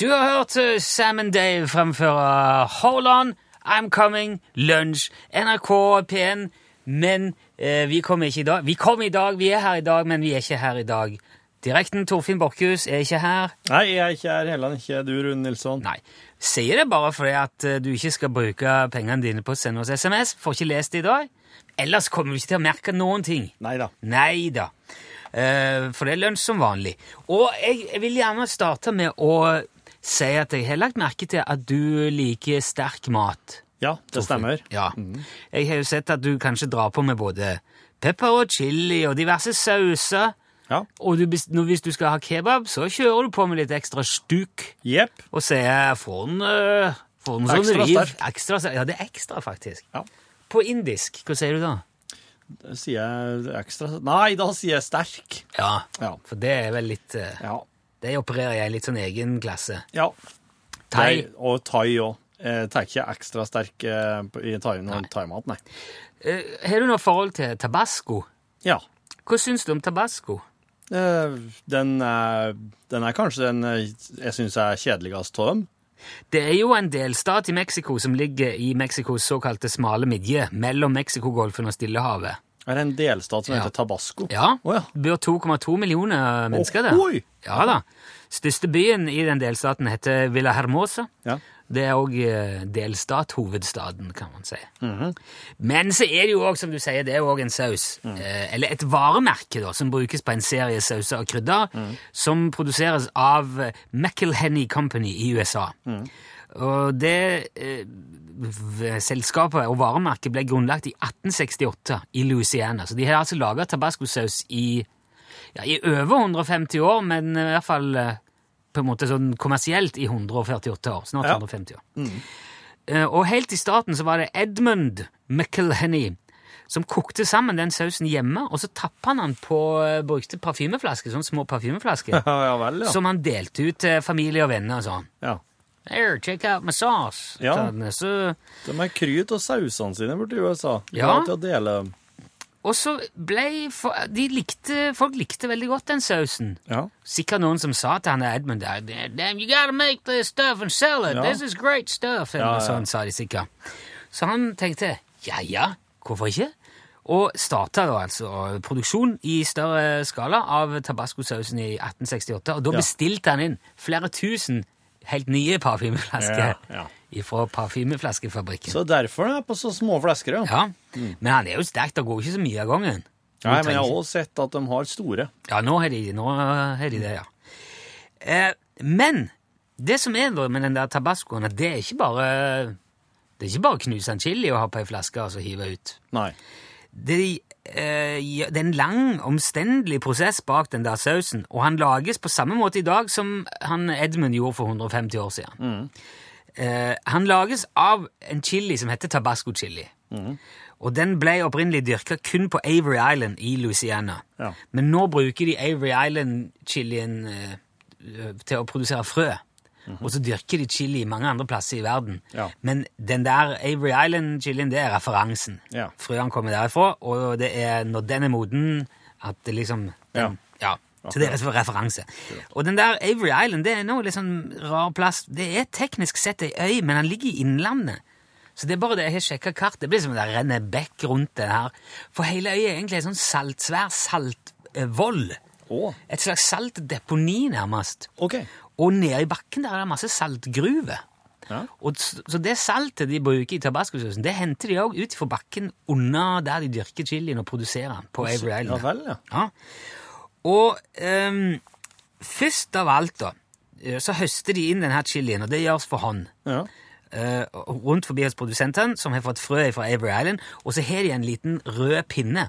Du har hørt eh, Sam and Dave fremføre Hold On, I'm Coming, Lunsj, NRK og P1. Men eh, vi kommer ikke i dag. Vi kommer i dag, vi er her i dag, men vi er ikke her i dag. Direkten Torfinn Borchhus er ikke her. Nei, jeg er ikke her heller. Ikke du, Rune Nilsson. Nei. Sier det bare fordi at eh, du ikke skal bruke pengene dine på å sende oss SMS. Får ikke lest det i dag. Ellers kommer du ikke til å merke noen ting. Nei da. Nei da. Eh, for det er lunsj som vanlig. Og jeg, jeg vil gjerne starte med å si at jeg har lagt merke til at du liker sterk mat. Ja, det stemmer. Mhm. Ja. Jeg har jo sett at du kanskje drar på med både pepper og chili og diverse sauser. Ja. Og du, bes- når- hvis du skal ha kebab, så kjører du på med litt ekstra stuk Jepp. og sier får den, eh, får den sånn Ekstra riv. sterk. Ekstra sterk. Ja, det er ekstra, faktisk. Ja. På indisk, hva sier du da? Da Sier jeg ekstra Nei, da sier jeg sterk. Ja, Ja. for det er vel litt eh, Ja. De opererer jeg i litt sånn egen klasse. ja. Thai. Nei, Og thai òg. Jeg tar ikke ekstra sterk eh, på- i thaimat, thai thaimat, nei. Eh, Har du noe forhold til tabasco? Ja. Hva syns du om tabasco? Eh, Den er, den er kanskje den eh, jeg syns er kjedeligst av dem. Det er jo en delstat i Mexico som ligger i Mexicos såkalte smale midje, mellom Mexicogolfen og Stillehavet. Er det en delstat som Ja. heter Tabasco? Ja, Å, ja. det bor 2,2 millioner mennesker der. Ohoi! Ja da. Største byen i den delstaten heter Villa Hermosa. Ja. Det er òg delstat, hovedstaden, kan man si. Men så er det jo òg, som du sier, det er jo òg en saus. eh, Eller et varemerke, da, som brukes på en serie sauser og krydder, som produseres av eh, McIlhenny Company i USA. Og det eh, v- selskapet og varemerket ble grunnlagt i 1868 i Louisiana. Så de har altså laga tabascosaus i, ja, i over 150 år, men i hvert fall eh, på en måte sånn kommersielt i 148 år. Snart Ja. Mm. 150 år. Eh, Og helt i starten så var det Edmund McIlhenny som kokte sammen den sausen hjemme, og så tappa han den på eh, brukte parfymeflasker, sånne små parfymeflasker, Ja, ja vel, ja. som han delte ut til familie og venner og sånn. ja. Here, check out my sauce. Ja. sa han. Så, De er kry av sausene sine borti USA. De Ja. er til å dele. og så ble for, de likte, Folk likte veldig godt den sausen. Ja. Sikkert noen som sa til han der Edmund der, Damn, you gotta make this stuff and sell it. Ja. This is great stuff. Eller Ja, noe ja. sånt, sa de sikkert. Så han tenkte ja ja, hvorfor ikke? Og starta da altså produksjon i større skala av tabascosausen i 1868. Og da Ja. bestilte han inn flere tusen helt nye parfymeflasker Ja, ja. fra parfymeflaskefabrikken. Så Mm. derfor er jeg på så små flesker, ja. Ja, Men han er jo sterk, det går ikke så mye av gangen. Nei, men jeg har også sett at de har store. Ja, nå har de, nå har de det, ja. Eh, men det som er da med den der tabascoen, at det er ikke bare det er ikke bare å knuse en chili og ha på ei flaske og så hive ut. Nei. Det, eh, ja, det er en lang, omstendelig prosess bak den der sausen, og han lages på samme måte i dag som han Edmund gjorde for 150 år siden. Mm. Eh, han lages av en chili som heter tabasco-chili. Mm. Og den ble opprinnelig dyrka kun på Avery Island i Louisiana. Ja. Men nå bruker de Avery Island-chilien eh, eh, til å produsere frø. Og så dyrker de chili mange andre plasser i verden. Mhm. Ja. Men den der Avery Island-chilien, det er referansen. Ja. Frøene kommer derifra, og det er når den er moden, at det liksom den, ja. Så det er for referanse. Og den der Avery Island det er noe litt sånn rar plass. Det er teknisk sett ei øy, men den ligger i innlandet. Så det er bare det jeg har sjekka kart. Det blir som om det renner bekk rundt det her. For hele øya er egentlig en sånn salt, svær saltvoll. Å, Et slags saltdeponi, nærmest. ok. Og nede i bakken der er det masse saltgruver. Ja. Og s- så det saltet de bruker i tabascosausen, det henter de òg ut fra bakken under der de dyrker chilien og produserer den på Avery Ja Island. vel, ja. Ja. Og ehm, først av alt, da, eh, så høster de inn denne chilien, og det gjøres for hånd. ja. Eh, rundt forbi hos produsentene, som har fått frø fra Avery Island, og så har de en liten rød pinne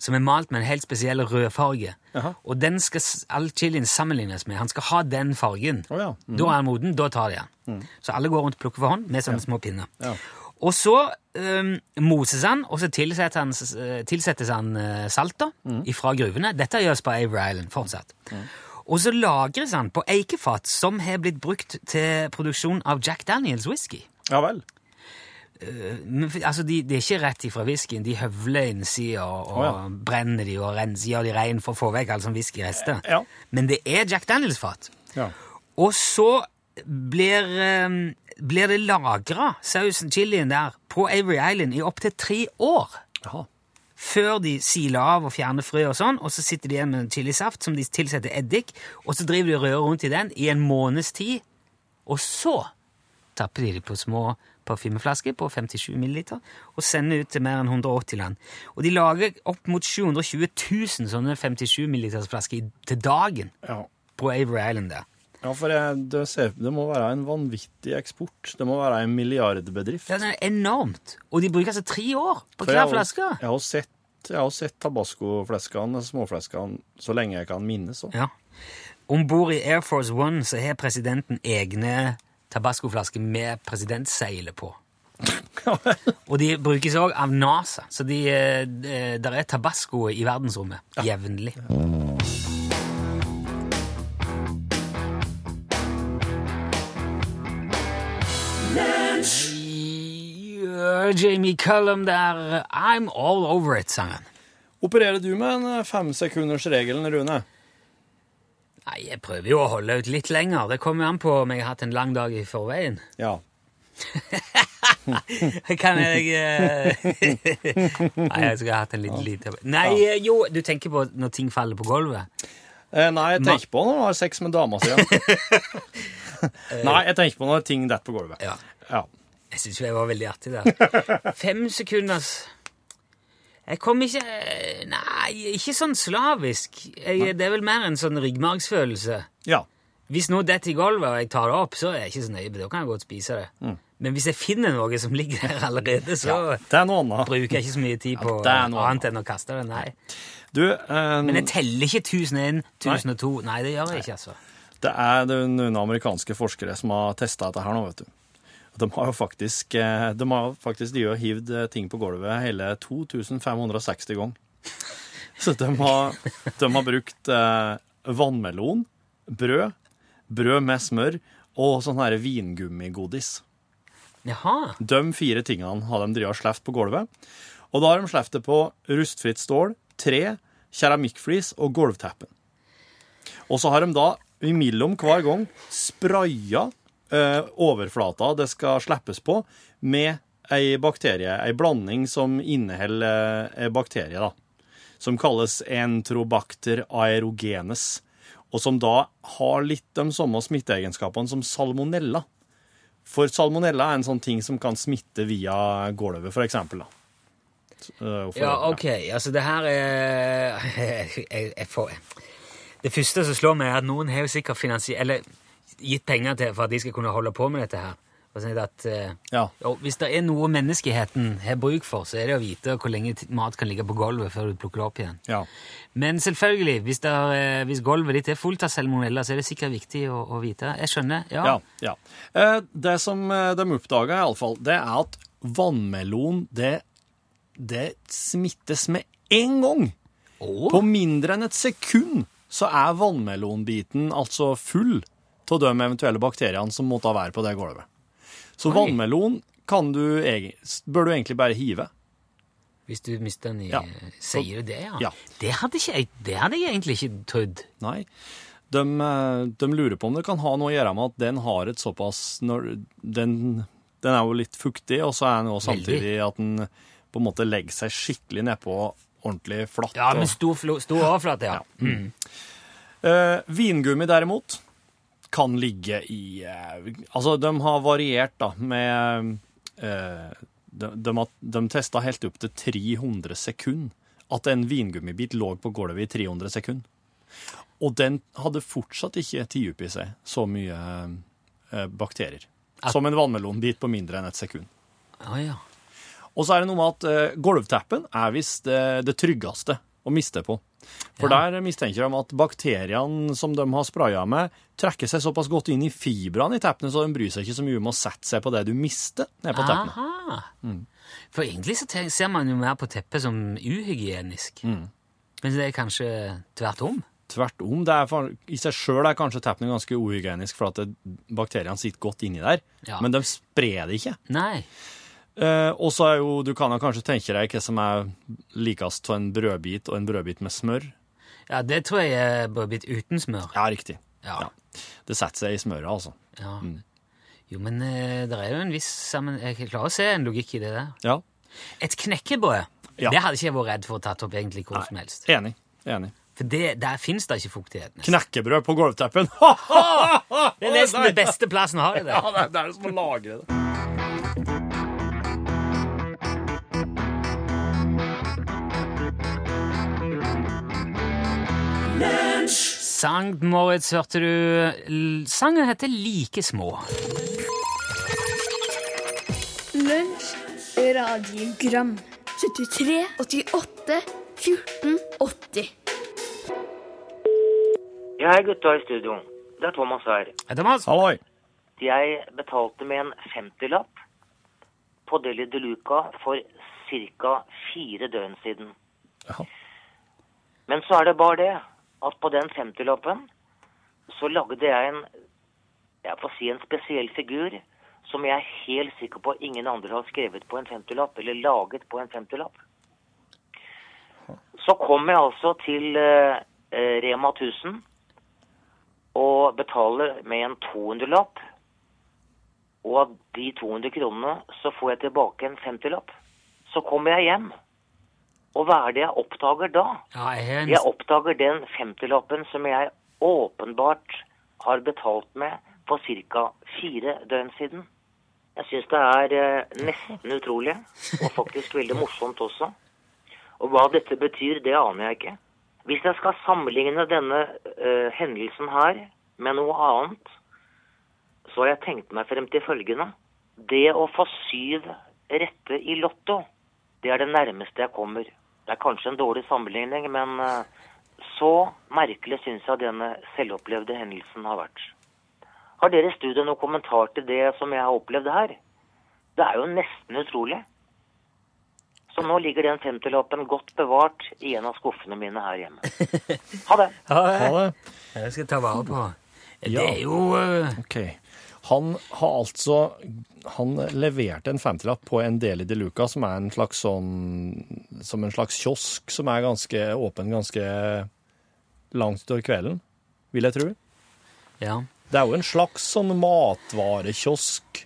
som er malt med en helt spesiell rødfarge. Jaha. Og den skal s- all chilien sammenlignes med. Han skal ha den fargen. Å ja. Mhm. Mm. Da er han moden, da tar de han. Så alle går rundt og plukker for hånd med sånne små pinner. Ja. Og så ehm, moses han, og så tilsetter han, s- eh, tilsettes han eh, salt da, Mm. ifra gruvene. Dette gjøres på Avery Island fortsatt. Og så lagres han på eikefat som har blitt brukt til produksjon av Jack Daniels whisky. Ja vel. Men, for- altså, de, de er ikke rett ifra whiskyen. De høvler innsida og, og Å, ja. brenner de og renser, gjør de rein sånn for å få vekk alle sånne whiskyrester. Ja. Men det er Jack Daniels-fat. Ja. Og så blir, eh, blir det lagra, sausen, chilien der, på Avery Island i opptil tre år Jaha. før de siler av og fjerner frø og sånn, og så sitter de igjen med chilisaft som de tilsetter eddik, og så driver de og rører rundt i den i en måneds tid, og så tapper de det på små parfymeflasker på 57 milliliter og sender ut til mer enn 180 land. Og de lager opp mot 720 000 sånne 57 millilitersflasker i- til dagen Ja. på Avery Island der. ja, for jeg, det, ser, det må være en vanvittig eksport. Det må være en milliardbedrift. Det er enormt. Og de bruker altså tre år på For jeg hver har- flaske. Jeg har sett, jeg har sett tabascofleskene, småfleskene, så lenge jeg kan minnes. også. Ja. Om bord i Air Force One så har presidenten egne tabascoflasker med presidentseilet på. Og de brukes òg av NASA, så de, eh, der er tabasco i verdensrommet jevnlig. Nei, øh, Jamie Cullum der I'm All Over It-sangen. Opererer du med en femsekundersregelen, Rune? Nei, jeg prøver jo å holde ut litt lenger. Det kommer jo an på om jeg har hatt en lang dag i forveien. Ja. Kan jeg eh, Nei, jeg skulle hatt en litt lite Nei, eh, jo, du tenker på når ting faller på gulvet. Eh, nei, jeg tenker på når du har sex med dama si. ja. nei, jeg tenker på når ting detter på gulvet. Ja. Ja. Jeg syns jeg var veldig artig der. Fem sekunders Jeg kom ikke eh, Nei, ikke sånn slavisk. Jeg, det er vel mer en sånn ryggmargsfølelse. ja. Hvis noe detter i gulvet, og jeg tar det opp, så er jeg ikke så nøye, men da kan jeg godt spise det. Men hvis jeg finner noe som ligger der allerede, så Det er noe annet. bruker jeg ikke så mye tid på det er noe annet enn å kaste det. Nei. Du, eh, Men jeg teller ikke 1001, 1002. Nei, det gjør jeg ikke, altså. det er det er noen amerikanske forskere som har testa dette her nå, vet du. Og De har jo faktisk eh, De har faktisk de har hivd eh, ting på gulvet hele 2560 ganger. Så de har, de har brukt eh, vannmelon, brød, brød med smør og sånn her vingummigodis. Jaha. De fire tingene har de drevet og sleft på gulvet. Og da har de sleft det på rustfritt stål, tre, keramikkflis og gulvteppen. Og så har de da imellom hver gang spraya eh, overflata det skal slippes på, med ei bakterie, ei blanding som inneholder eh, ei bakterie, da. Som kalles entrobacter aerogenes. Og som da har litt de samme smitteegenskapene som salmonella. For salmonella er en sånn ting som kan smitte via gulvet, for eksempel. Da. Så, øh, for- Ja, ok. Altså, det her er jeg, jeg får... Det første som slår meg, er at noen har jo sikkert finansiert Eller gitt penger til for at de skal kunne holde på med dette her. Og sånn at, eh, Ja. jo, hvis det er noe menneskeheten har bruk for, så er det å vite hvor lenge t- mat kan ligge på gulvet før du plukker det opp igjen. Ja. Men selvfølgelig, hvis, det, er, eh, hvis gulvet ditt er fullt av salmonella, så er det sikkert viktig å, å vite. Jeg skjønner. Ja. Ja, ja. Eh, Det som eh, de oppdaga, i alle fall, det er at vannmelon det, det smittes med én gang. Åh. På mindre enn et sekund så er vannmelonbiten altså full av de eventuelle bakteriene som måtte være på det gulvet. Så vannmelon kan du, eg- bør du egentlig bare hive. Hvis du mister den i Ja. Sier du det, ja? Ja. Det, hadde ikke jeg, det hadde jeg egentlig ikke trodd. Nei. De, eh, de lurer på om det kan ha noe å gjøre med at den har et såpass når, den, den er jo litt fuktig, og så er den jo samtidig at den på en måte legger seg skikkelig nedpå ordentlig flatt. Ja, og- med stor, flo- stor overflate, ja. Eh, vingummi derimot kan ligge i eh, Altså, de har variert, da, med eh, de, de, har- de testa helt opp til 300 sekunder. At en vingummibit lå på gulvet i 300 sekunder. Og den hadde fortsatt ikke tatt opp i seg så mye eh, bakterier. Som en vannmelonbit på mindre enn et sekund. Å, ja. Og så er det noe med at eh, gulvteppen er visst eh, det tryggeste å miste på. For der mistenker de at bakteriene som de har spraya med, trekker seg såpass godt inn i fibrene i teppene, så de bryr seg ikke så mye om å sette seg på det du mister ned på teppene. Aha. For egentlig så ten- ser man jo mer på teppet som uhygienisk. Men det er kanskje tvert om? Tvert om. Det er for, I seg sjøl er kanskje teppene ganske uhygienisk, for at det, bakteriene sitter godt inni der, Ja. men de sprer det ikke. Nei. Eh, og så er jo, du kan jo kanskje tenke deg hva som er likest av en brødbit og en brødbit med smør. Ja, det tror jeg er bare blitt uten smør. Ja, riktig. Ja. Mm. Det setter seg i smøret, altså. Ja. Jo, men eh, det er jo en viss sammen... Jeg klarer å se en logikk i det der. Ja, Et knekkebrød, Ja. det hadde ikke jeg vært redd for å tatt opp egentlig hvor som helst. enig. enig. For det, der fins det ikke fuktighet. nesten. Knekkebrød på gulvteppen. Ha, ha, ha! Det er nesten den beste plassen å ha det Ja, der. det er, det er som å lagre det. Sankt Moritz hørte du. L- Sangen heter Like små. Lunsj, radiogram 73, 88, 14, 80 Ja, hei gutta i studio. Det er Thomas her. Hei, Thomas. Halloi. Jeg betalte med en 50-lapp på Deli de Luca for ca. fire døgn siden. Ja. Men så er det bare det at på den 50-lappen så lagde jeg en jeg får si en spesiell figur som jeg er helt sikker på ingen andre har skrevet på en 50-lapp, eller laget på en 50-lapp. Så kom jeg altså til eh, eh, Rema 1000 og betaler med en 200-lapp. Og av de 200 kronene så får jeg tilbake en 50-lapp. Så kommer jeg hjem. Og hva er det jeg oppdager da? Ja, jeg har en... Jeg oppdager den 50-lappen som jeg åpenbart har betalt med for ca. fire døgn siden. Jeg syns det er eh, nesten utrolig, og faktisk veldig morsomt også. Og hva dette betyr, det aner jeg ikke. Hvis jeg skal sammenligne denne eh, hendelsen her med noe annet, så har jeg tenkt meg frem til følgende. Det å få syv rette i Lotto, det er det nærmeste jeg kommer. Det er kanskje en dårlig sammenligning, men eh, så merkelig syns jeg denne selvopplevde hendelsen har vært. Har dere i studio noen kommentar til det som jeg har opplevd her? Det er jo nesten utrolig. Så nå ligger den femtilappen godt bevart i en av skuffene mine her hjemme. Ha det! Ha det. Jeg skal ta vare på. Det Ja. er jo eh, Ok. Han har altså Han leverte en 50-lapp på en Deli de Luca, som er en slags sånn Som en slags kiosk som er ganske åpen ganske langt utover kvelden, vil jeg tro. Ja. Det er jo en slags sånn matvarekiosk.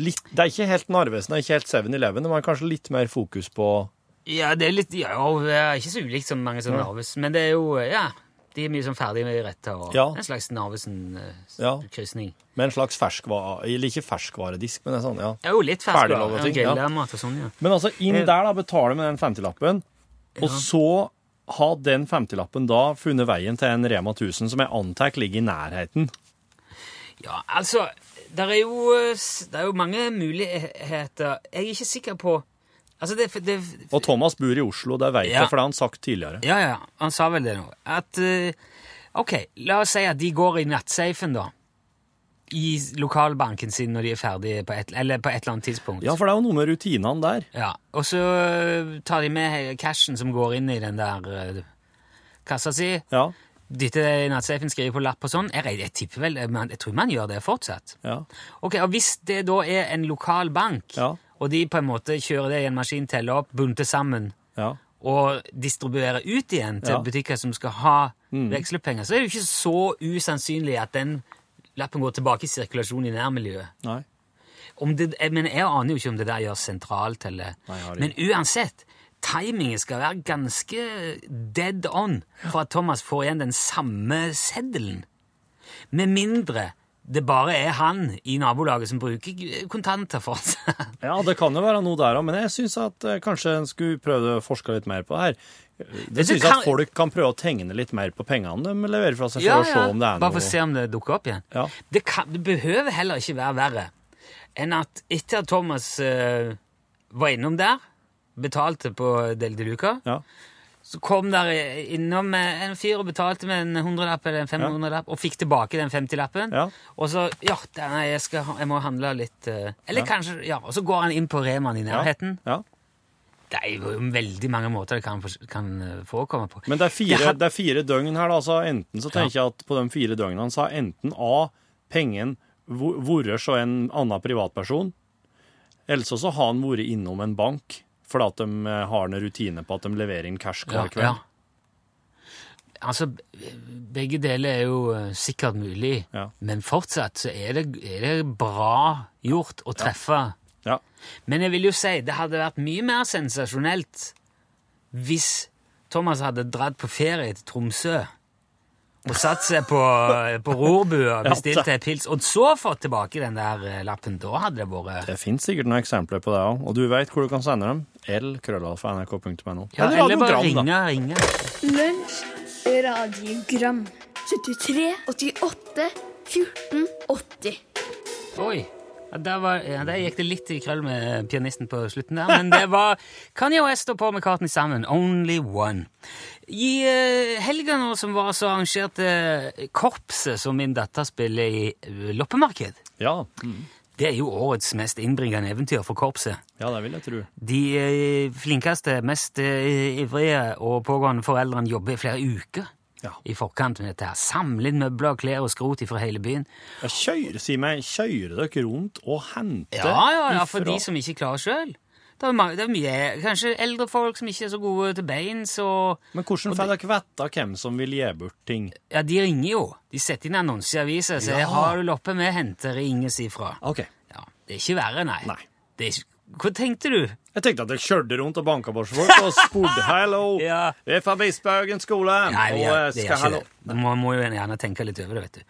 Litt, det er ikke helt Narvesen, det er ikke helt 7-Eleven, men kanskje litt mer fokus på Ja, det er litt ja, og det er Ikke så ulikt som mange som Narves, men det er jo eh, ja, de er mye sånn ferdig med retta og Ja. en slags eh, Ja. Narvesen-krysning. Med en slags ferskvare... Eller ikke ferskvaredisk, men det er sånn, ja. Jo, litt fersk Ferdiglaget vare, ting, ja, ja. grillmat og sånn, ja. Men altså, inn der da, betale med den 50-lappen, og så har den 50-lappen da funnet veien til en Rema 1000 som jeg antar ligger i nærheten. Ja, altså, der er jo, eh, s- der er jo mange muligheter. Jeg er ikke sikker på Altså, det, det Og Thomas bor i Oslo, det vet Ja. jeg, for det har han sagt tidligere. Ja, ja, han sa vel det nå. At eh, Ok, la oss si at de går i nattsafen, da. I lokalbanken sin når de er ferdige på et, eller på et eller annet tidspunkt. Ja, for det er jo noe med rutinene der. Ja, og så ø, tar de med he- cashen som går inn i den der ø, kassa si, Ja, dytter det i nattsafen, skriver på lapp og sånn. Jeg, re- jeg tipper vel, eh, man- jeg tror man gjør det fortsatt. ja, Ok, og hvis det da er en lokal bank, Ja. og de på en måte kjører det i en maskin, teller opp, bunter sammen, ja. og distribuerer ut igjen til Ja. Mm. butikker som skal ha vekslepenger, så er det jo ikke så usannsynlig at den lappen går tilbake i sirkulasjon i nærmiljøet Nei. om det, jeg, men jeg aner jo ikke om det der gjøres sentralt eller Nei, jeg har Men uansett, timingen skal være ganske dead on for at Thomas får igjen den samme seddelen. Med mindre det bare er han i nabolaget som bruker kontanter fortsatt. Ja, det kan jo være noe der òg, men jeg syns at eh, kanskje en skulle prøve å forske litt mer på det her. Det syns jeg kan- at folk kan prøve å tegne litt mer på pengene de leverer fra seg, for å se om det er noe Bare for å se om det dukker opp igjen. Ja. Det, kan, det behøver heller ikke være verre enn at etter at Thomas eh, var innom der, betalte på Del de Luca, Ja. så kom der innom eh, en fyr og betalte med en 100-lapp eller en 500-lapp, og fikk tilbake den 50-lappen. Ja. Og så Ja, det- nei, jeg, skal, ha- jeg må handle litt eh, Eller kanskje Ja, og så går han inn på Remaen i nærheten. Ja. Det er jo veldig mange måter det kan, fors- kan eh, forekomme på. Men det er fire, Det her- det er fire døgn her, da. Så enten så tenker jeg at på de fire døgnene så har enten A, pengen hvor- vært så en annen privatperson, eller så så har han vært innom en bank fordi at de eh, har en rutine på at de leverer inn cash hver kveld. Ja. Altså, begge deler er jo eh, sikkert mulig, Ja. men fortsatt så er det, er det bra gjort å treffe. Ja. Men jeg vil jo si, det hadde vært mye mer sensasjonelt hvis Thomas hadde dratt på ferie til Tromsø og satt seg på, på rorbua, bestilt ei pils, og så fått tilbake den der eh, lappen. Da hadde det vært Det finnes sikkert noen eksempler på det òg, og du veit hvor du kan sende dem. L-krøllalfa.nrk.no. ja, Eller Eller bare radiogram, da. ringe, ringe. Lunsj, radiogram 73, 88, 14, 80 Oi. Ja, der, var, ja, der gikk det litt i krøll med pianisten på slutten der, men det var Kanye West og Paul McCartney sammen. Only one. I uh, helga nå som var, så arrangerte korpset som min datter spiller i eh, loppemarked. Ja. Det er jo årets mest innbringende eventyr for korpset. ja, det vil jeg tro. De eh, flinkeste, mest eh, ivrige og pågående foreldrene jobber i flere uker Ja. i forkant med dette. her. Samle inn møbler, klær og skrot fra hele byen. Jeg kjører, si meg, kjører dere rundt og henter Ja, ja, ja, for ifra- de som ikke klarer sjøl. Det er, mange, det er mye, Kanskje eldre folk som ikke er så gode til beins. og Men hvordan får dere vite hvem som vil gi bort ting? ja, De ringer jo. De setter inn annonse i avisa. Så Ja. 'Har du loppe med, henter ringes ifra'. Ok. Ja, Det er ikke verre, nei. Nei. Det er, ikke- hva tenkte du? Jeg tenkte at dere kjørte rundt og banka på folk og spurte hello. Ja. Vi er fra Bispehaugen skole. Nei, vi og gjør, eh, det skal gjør ikke hello. det. Man må jo gjerne tenke litt over det, vet du.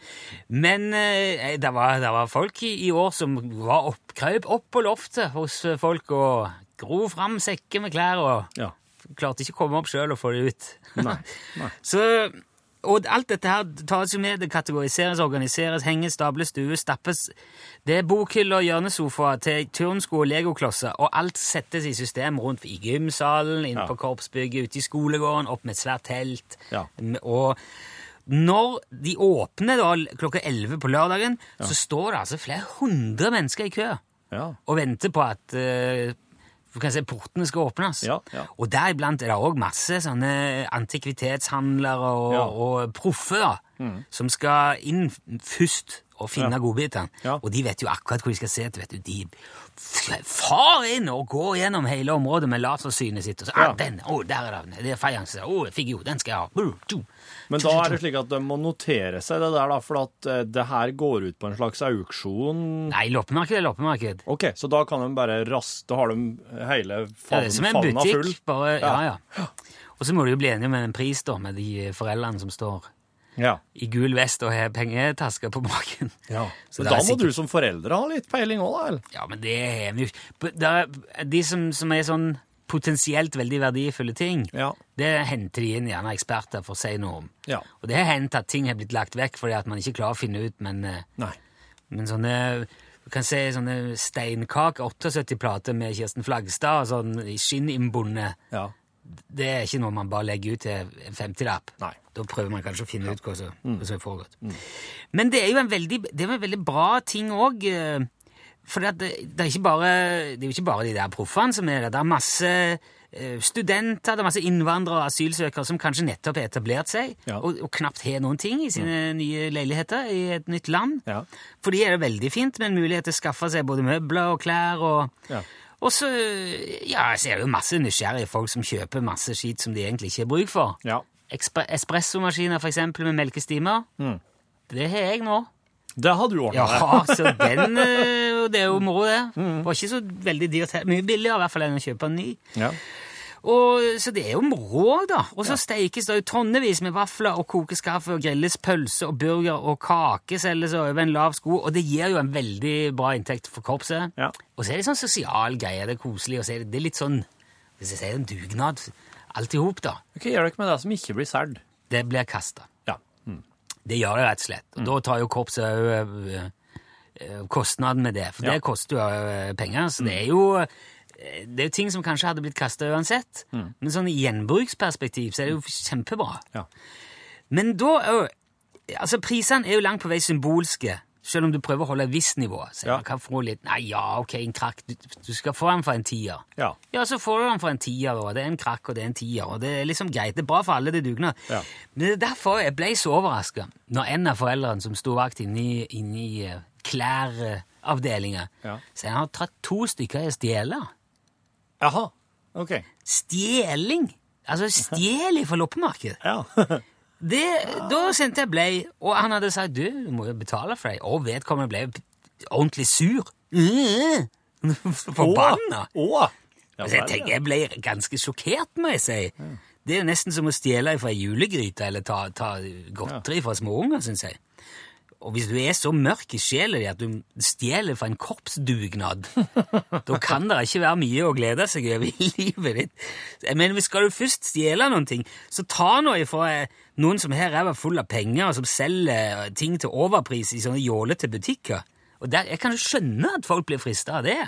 Men eh, det, var, det var folk i, i år som var oppkrøp opp på loftet hos eh, folk og gro fram sekker med klær og Ja. klarte ikke å komme opp sjøl og få det ut. Nei, nei. Så, og alt dette her tas jo med, det kategoriseres, organiseres, henges, stables, stues, stappes. Det er bokhyller, hjørnesofaer til turnsko og legoklosser, og alt settes i system rundt i gymsalen, inn Ja. på korpsbygget, ute i skolegården, opp med et svært telt. Ja. M- Og når de åpner da klokka 11 på lørdagen, så står det altså flere hundre mennesker i kø Ja. og venter på at eh, du kan si, portene skal åpnes. Ja, ja. Og deriblant er det òg masse sånne antikvitetshandlere og, Ja. Mm. og proffe da, som skal inn først og finne Ja. godbitene. Ja. Og de vet jo akkurat hvor de skal se etter. vet du. De f- far inn og går gjennom hele området med lasersynet sitt. og så, Ja. ah, den, oh, der er den, det er fajanse, oh, figur, den skal jeg ha. Brr, tjo. Men da er det slik at de må notere seg det der, da, for at eh, det her går ut på en slags auksjon. Nei, loppemarked er loppemarked. Ok, så da kan de bare raste, da har de hele Ja, det favn- er som en favna full. butikk, bare, ja, Ja. ja. Og så må du jo bli enig med en pris da, med de foreldrene som står Ja. i gul vest og har pengetasker på magen. Ja. Så Men det da er må sikkert- du som foreldre ha litt peiling òg, da? eller? Ja, men det har vi jo ikke. But der er- De som, som er sånn potensielt veldig verdifulle ting, Ja. det henter de inn gjerne eksperter for å si noe om. Ja. Og det har hendt at ting har blitt lagt vekk fordi at man ikke klarer å finne ut, men, eh, Nei. men sånne du kan se sånne steinkake, 78 plater med Kirsten Flagstad og sånn i skinninnbundet. Ja. Det er ikke noe man bare legger ut til en 50-lapp. Nei. Mm. Da prøver man kanskje å finne ut hva som hva som har foregått. Men det er jo en veldig, det er jo en veldig bra ting òg. For det, at det, det, er ikke bare, det er jo ikke bare de der proffene som er der. Det er masse eh, studenter, det er masse innvandrere og asylsøkere som kanskje nettopp har etablert seg, Ja. og, og knapt har noen ting i sine nye leiligheter i et nytt land. Ja. For de er det veldig fint med en mulighet til å skaffe seg både møbler og klær og Ja. og så ja, så er det jo masse nysgjerrige folk som kjøper masse skit som de egentlig ikke har bruk for. ja. Ekspre- Espressomaskiner, for eksempel, med melkestimer. Mm. Det har jeg nå. Det har du Ja, ordna. så den eh, Det er jo moro, det. Mm. Var ikke så veldig dyrt. her. Mye billigere i hvert fall enn å kjøpe en ny. Ja. Og, så det er jo moro òg, da. Og så steikes det jo tonnevis med vafler og kokes kaffe og grilles pølse og burger og kake selges over en lav sko, og det gir jo en veldig bra inntekt for korpset. Ja. Og så er det sånn sosial greie, det er koselig, og så er det, det er litt sånn Hvis jeg sier en dugnad, alt i hop, da. Hva gjør dere med det som ikke blir solgt? Det blir kasta. Ja. Det gjør det rett og slett. Og Mm. da tar jo korpset òg eh, eh, kostnaden med det, for Ja. Mm. det koster jo eh, penger. Så det er jo eh, det er jo ting som kanskje hadde blitt kasta uansett, men sånn i gjenbruksperspektiv så er det jo kjempebra. Mm. Ja. Men da òg Altså, prisene er jo langt på vei symbolske, selv om du prøver å holde et visst nivå. Så Ja. man kan få litt Nei, ja, ok, en krakk. Du, du skal få den for en tier. Ja. Ja, så får du den for en tier, og det er en krakk, og det er en tier, og det er liksom greit. Det er bra for alle, det dugner. Ja. Men det er derfor jeg ble så overraska når en av foreldrene som sto vakt inni, inni eh, klæravdelinga, Ja. så han har tatt to stykker i å stjele. Jaha. OK. Stjeling! Altså stjel fra loppemarkedet. Ja. det, da sendte jeg blei, og han hadde sagt du, du må jo betale for deg. Og vedkommende ble p- ordentlig sur. Mm. Forbanna. Å! Ja, Altså, jeg vel, tenker jeg ble ganske sjokkert, må jeg si. Det er jo nesten som å stjele fra ei julegryte eller ta, ta godteri fra småunger, syns jeg. Og hvis du er så mørk i sjela di at du stjeler fra en korpsdugnad, da kan det ikke være mye å glede seg over i livet ditt. Men skal du først stjele noen ting, så ta nå ifra eh, noen som her er full av penger, og som selger eh, ting til overpris i sånne jålete butikker. Og der, Jeg kan jo skjønne at folk blir frista av det.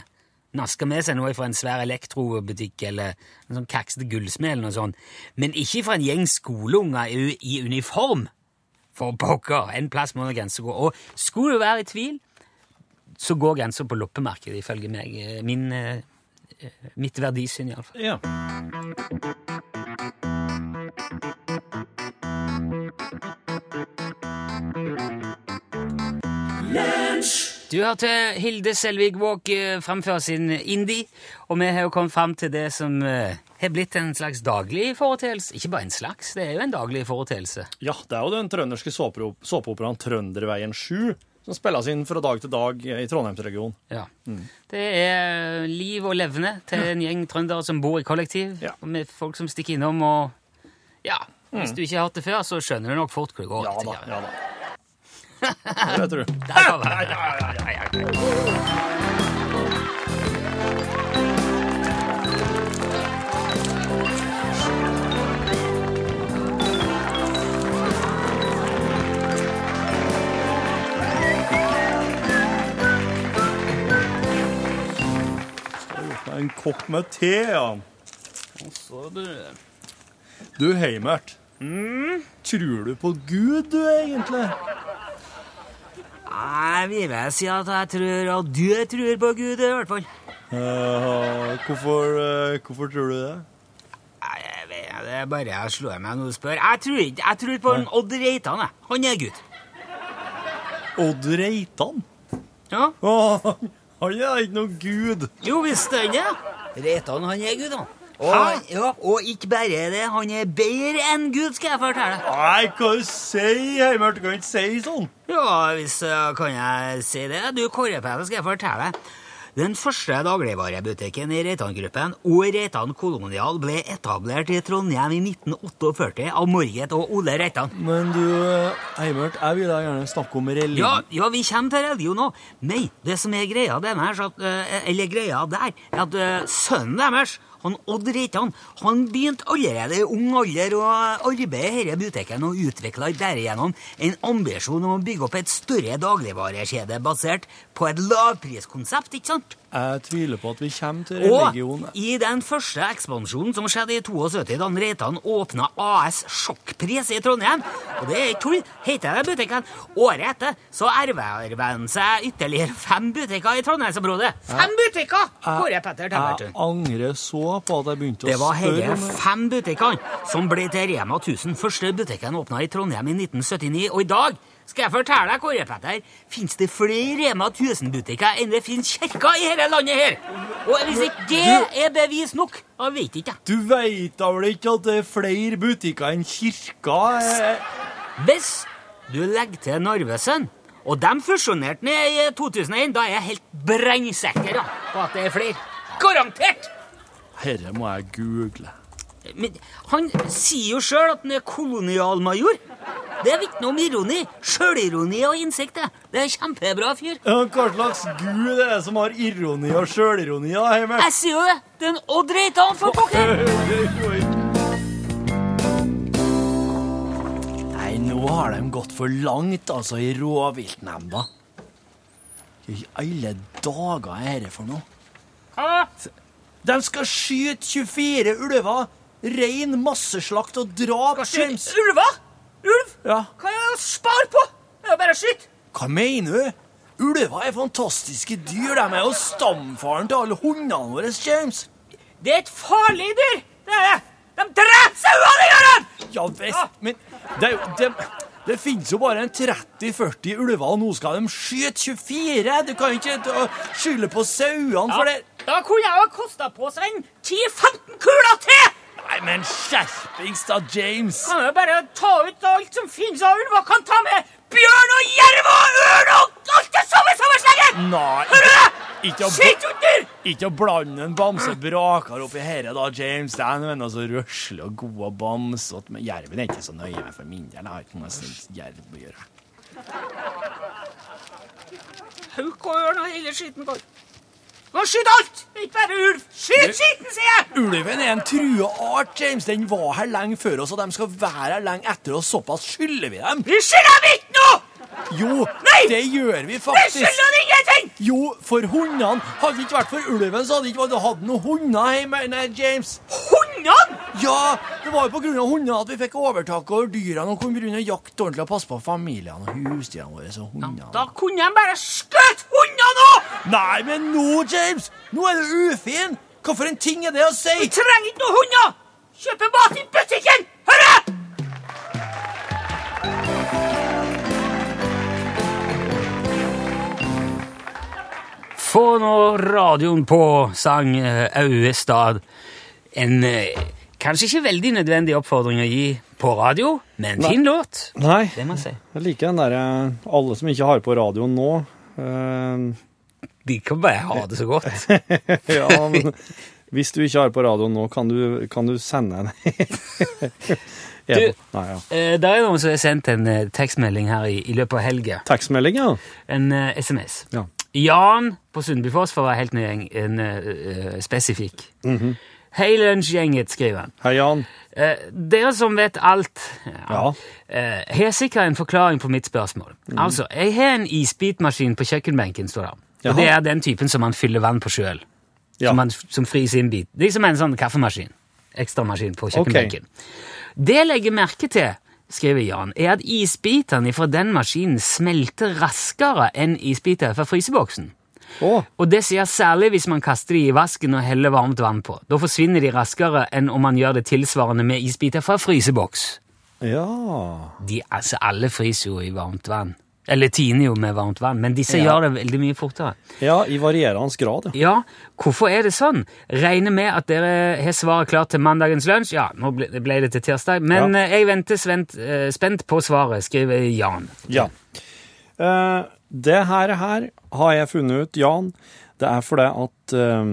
Naske med seg noe fra en svær elektrobutikk eller en sånn kaksete gullsmed eller noe sånt. Men ikke fra en gjeng skoleunger i, i uniform. For pokker! En plass må det grenser gå. Og skulle du være i tvil, så går grensa på loppemarkedet, ifølge meg. Eh, Min, eh, eh, mitt verdisyn, iallfall. Ja. Du hørte Hilde Selvik Våg eh, framføre sin indie, og vi har jo kommet fram til det som eh, har blitt en slags daglig foreteelse. Ikke bare en slags, det er jo en daglig foreteelse. Ja, det er jo den trønderske såpero- såpeoperaen Trønderveien 7, som spilles inn fra dag til dag i Trondheimsregionen. Ja. Mm. Det er eh, liv og levne til en gjeng trøndere som bor i kollektiv, Ja. og med folk som stikker innom og Ja, hvis du ikke har hørt det før, så skjønner du nok fort hvor det går. Mm. Ja da, tenker jeg. ja da. Det tror du. Der var det. Ja, ja, ja. Det er En kopp med te, Jan. Du, Heimert. Tror du på Gud, du, egentlig? Nei, vi vil si at jeg tror at du tror på Gud, i hvert fall. Eh, hvorfor, eh, hvorfor tror du det? Nei, jeg vet, det er bare jeg slår meg nå og spør. Jeg tror ikke Jeg tror på en Odd Reitan, jeg. Han er Gud. Odd Reitan? Ja. Åh, han er ikke noen gud. Jo visst, han er Reitan, han er Gud, han. Hæ? Og, ja, og ikke bare det, han er bedre enn Gud, skal jeg fortelle. Nei, hva du sier, Heimert? Du kan ikke si sånn. Ja, hvis eh, kan jeg si det. Du, Kårepæle, skal jeg fortelle. Den første dagligvarebutikken i Reitan-gruppen og Reitan Kolonial ble etablert i Trondheim i 1948 av Morget og Ole Reitan. Men du, Heimert, jeg vil da gjerne snakke om religion. Ja, ja, vi kommer til radio nå. Nei, det som er greia, den her, så at, eh, eller greia der, er at eh, sønnen deres, han Odd Reitan, han begynte allerede i ung alder å arbeide her i butikken og utvikla derigjennom en ambisjon om å bygge opp et større dagligvarekjede basert på et lavpriskonsept, ikke sant? Jeg tviler på at vi kommer til religion. Og i den første ekspansjonen som skjedde i 72, da Reitan åpna AS Sjokkpris i Trondheim, og det er ikke tull, heter det butikken, året etter så erverver han seg ytterligere fem butikker i Trondheimsområdet. Fem butikker! Kåre Petter Jeg Tempertun. angrer så på at jeg begynte Det å var spørre hele om fem butikkene som ble til Rema 1000. Første butikken åpna i Trondheim i 1979, og i dag skal jeg fortelle deg, Kåre Petter, fins det flere Rema 1000-butikker enn det fins kirker i dette landet her! Og hvis ikke det er bevis nok, da vet ikke jeg. Du veit da vel ikke at det er flere butikker enn kirker? eh? Hvis du legger til Narvesen, og de fusjonerte ned i 2001, da er jeg helt brennsikker ja, på at det er flere. Garantert! Herre må jeg google. Men han sier jo sjøl at han er kolonialmajor. Det vitner om ironi. Sjølironi og innsikt. det. Det er en kjempebra fyr. Ja, Hva slags gud er det som har ironi og sjølironi, da, Heimert? Jeg sier jo det! Den Odd Reitan for pokker! Nei, nå har de gått for langt, altså, i rovviltnemnda. Hva i alle dager er dette for noe? De skal skyte 24 ulver! Rein masseslakt og drap, James! Ulver! Ulv! Ja. Hva er det å spare på? Det er jo bare å skyte! Hva mener du? Ulver er fantastiske dyr. De er jo stamfaren til alle hundene våre, James. Det er et farlig dyr! Det er det! De dreper sauene, de gjør det! Ja visst, men det, er jo- det, det finnes jo bare en 30-40 ulver, og nå skal de skyte 24! Du kan ikke øh, skylde på sauene for det. Da kunne jeg ha kosta på seg en 10-15 kuler til! Nei, Nei, men skjerpings da, James! Kan jo bare ta ut alt som finnes av ulv, og kan ta med bjørn og jerv og ørn og alt det samme sammenslengen! Nei, Hører du? ikke å, bl- Skitthunder! ikke å blande en bamsebraker oppi herre da, James. Det er noe annet så røsle og god og bamsete. Men jerven er ikke så nøye med for min del. Jeg har ikke noe sint jerv å gjøre. Hauk og ørn og hele skitten går. Gå og skyt alt! Ikke bare ulv. Skyt skitten, sier jeg! Ulven er en trua art, James. Den var her lenge før oss, og de skal være her lenge etter oss. Såpass skylder vi dem. Vi skylder dem ikke noe! Jo, Nei! det gjør vi Vi faktisk. skylder dem ingenting! Jo, for hundene. Hadde det ikke vært for ulven, så hadde det ikke vært hatt noen hunder hjemme. Nei, James. Hundene! Ja, det var jo på grunn av hundene at vi fikk overtak over dyrene og kunne begynne å jakte ordentlig og passe på familiene og husdyrene våre og hundene. Da kunne de bare skutt hundene nå! Nei, men nå, James! Nå er du ufin! Hva for en ting er det å si? Vi trenger ikke noen hunder! Kjøpe mat i butikken! Hører du? Få nå radioen på, sang eh, Auestad. En eh, kanskje ikke veldig nødvendig oppfordring å gi på radio, men en fin låt. Nei, Det må jeg si. jeg liker den derre Alle som ikke har på radioen nå. eh, De kan bare ha det så godt. ja, men hvis du ikke har på radioen nå, kan du, kan du sende en e-post? Nei, ja. Eh, Det er noen som har sendt en eh, tekstmelding her i, i løpet av helga. Tekstmelding, ja. En eh, SMS. Ja. Jan på Sundbyfoss, for å være helt nøyeng, en eh, eh, spesifikk. Hei, lunsjgjenget, skriver han. Hei, Jan. Eh, dere som vet alt, Ja. eh, har sikkert en forklaring på mitt spørsmål. Mm. Altså, jeg har en isbitmaskin på kjøkkenbenken, står det. Jaha. Og det er den typen som man fyller vann på sjøl. Ja. Som, man- som fryser inn bit. Det er som en sånn kaffemaskin. Ekstramaskin på kjøkkenbenken. Det jeg legger merke til, skriver Jan, er at isbitene fra den maskinen smelter raskere enn isbiter fra fryseboksen. Å, Og det sier særlig hvis man kaster de i vasken og heller varmt vann på. Da forsvinner de raskere enn om man gjør det tilsvarende med isbiter fra fryseboks. ja. De, altså, alle fryser jo i varmt vann. Eller tiner jo med varmt vann, men disse Ja. gjør det veldig mye fortere. Ja, i varierende grad, ja. Ja, hvorfor er det sånn? Regner med at dere har svaret klart til mandagens lunsj. Ja, nå ble, ble det til tirsdag, men Ja. eh, jeg venter svent, eh, spent på svaret, skriver Jan. Ja. Eh, det her, her har jeg funnet ut, Jan. Det er fordi at eh,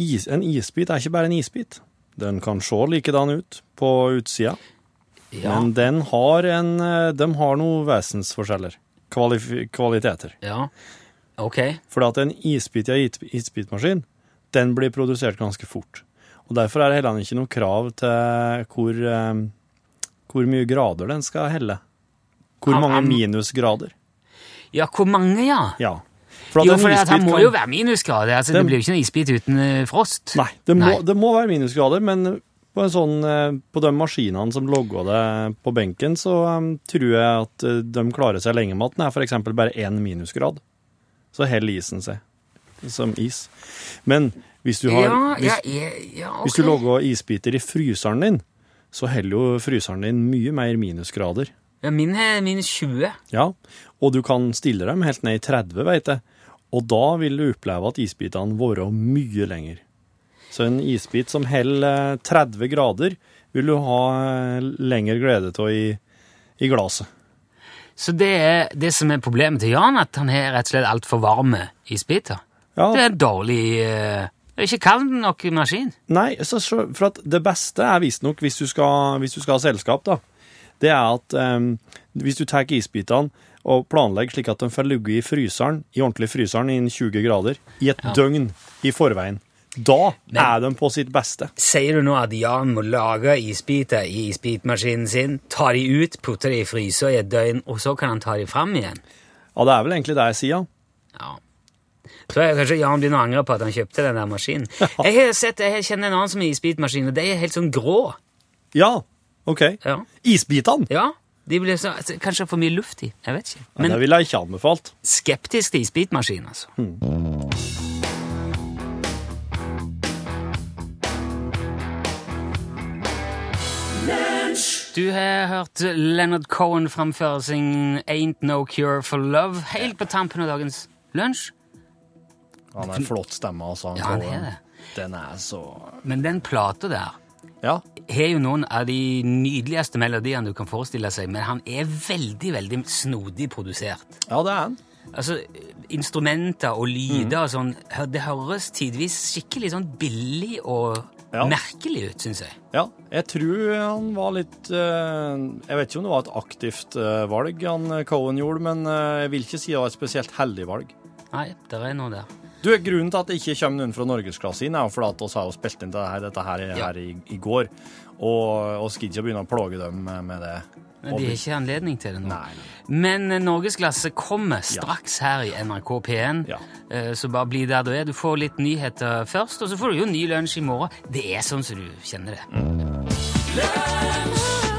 is, en isbit er ikke bare en isbit. Den kan se likedan ut på utsida, Ja, men den har en, eh, de har noen vesensforskjeller. Kvalif kvaliteter. ja. ok. Fordi at en isbit i en it- isbitmaskin, den blir produsert ganske fort. Og derfor er det heller ikke noe krav til hvor, eh, hvor mye grader den skal helle. Hvor Han- mange han- minusgrader. Ja, hvor mange, ja? Ja. For at Jo, en for det isbit må kan- jo være minusgrader. Altså, det Den- blir jo ikke noe isbit uten eh, frost. Nei, det må, Nei. Det må være minusgrader, men på, en sånn, eh, på de maskinene som logger det på benken, så eh, tror jeg at eh, de klarer seg lenge med at den er f.eks. bare én minusgrad. Så heller isen seg som is. Men hvis du har ja, hvis, ja, ja, ja, ok. Hvis du lager isbiter i fryseren din, så heller jo fryseren din mye mer minusgrader. Ja, min er minus 20. Ja, og du kan stille dem helt ned i 30, vet jeg. Og da vil du oppleve at isbitene vårer mye lenger. Så en isbit som holder eh, 30 grader, vil du ha eh, lengre glede av i, i glaset. Så det er det som er problemet til Jan, at han har rett og slett altfor varme isbiter. Det er Ja, en dårlig eh, Det er ikke kald nok maskin. nei, så, så, for at det beste er visstnok hvis, du skal- hvis du skal ha selskap, da. Det er at eh, hvis du tar isbitene og planlegger slik at de får ligge i fryseren, i ordentlig fryseren innen 20 grader, i et døgn i forveien, da er de på sitt beste. Sier du nå at Jan må lage isbiter i isbitmaskinen sin, ta de ut, putte de i fryser i et døgn, og så kan han ta de fram igjen? Ja, det er vel egentlig det jeg sier. Ja. Tror jeg kanskje Jan begynner å angre på at han kjøpte den der maskinen. Jeg har sett, jeg kjenner en annen som har isbitmaskin, og de er helt sånn grå. Ja, ok. Ja. Isbitene! Ja, de blir så, altså, kanskje for mye luft i. Jeg vet ikke. Men, Men det ville jeg ikke anbefalt. skeptisk til isbitmaskin, altså. Hmm. Du har hørt Leonard Cohen framføre sin Ain't No Cure for Love helt på tampen av dagens lunsj. Han er en flott stemme, altså. Ja, han er det. Den er så Men den plata der Ja. har jo noen av de nydeligste melodiene du kan forestille seg, men han er veldig, veldig snodig produsert. ja, det er han. Altså, instrumenter og lyder og sånn, hø- det høres tidvis skikkelig sånn billig og Ja. merkelig ut, synes jeg. Ja, jeg tror han var litt eh, Jeg vet ikke om det var et aktivt eh, valg han eh, Cohen gjorde, men eh, jeg vil ikke si det var et spesielt heldig valg. Nei, der er noe der. Du, Grunnen til at det ikke kommer noen fra norgesklasse inn, er jo fordi at oss har jo spilt inn det her, dette her, i- Ja. her i, i går. Og vi gidder ikke å begynne å plage dem med, med det. Men de har ikke anledning til det nå. Nei, nei. Men eh, Norgesklasse kommer straks her i NRK P1, Ja. Eh, så bare bli der du er. Du får litt nyheter først, og så får du jo ny lunsj i morgen. Det er sånn som du kjenner det. Lunsj!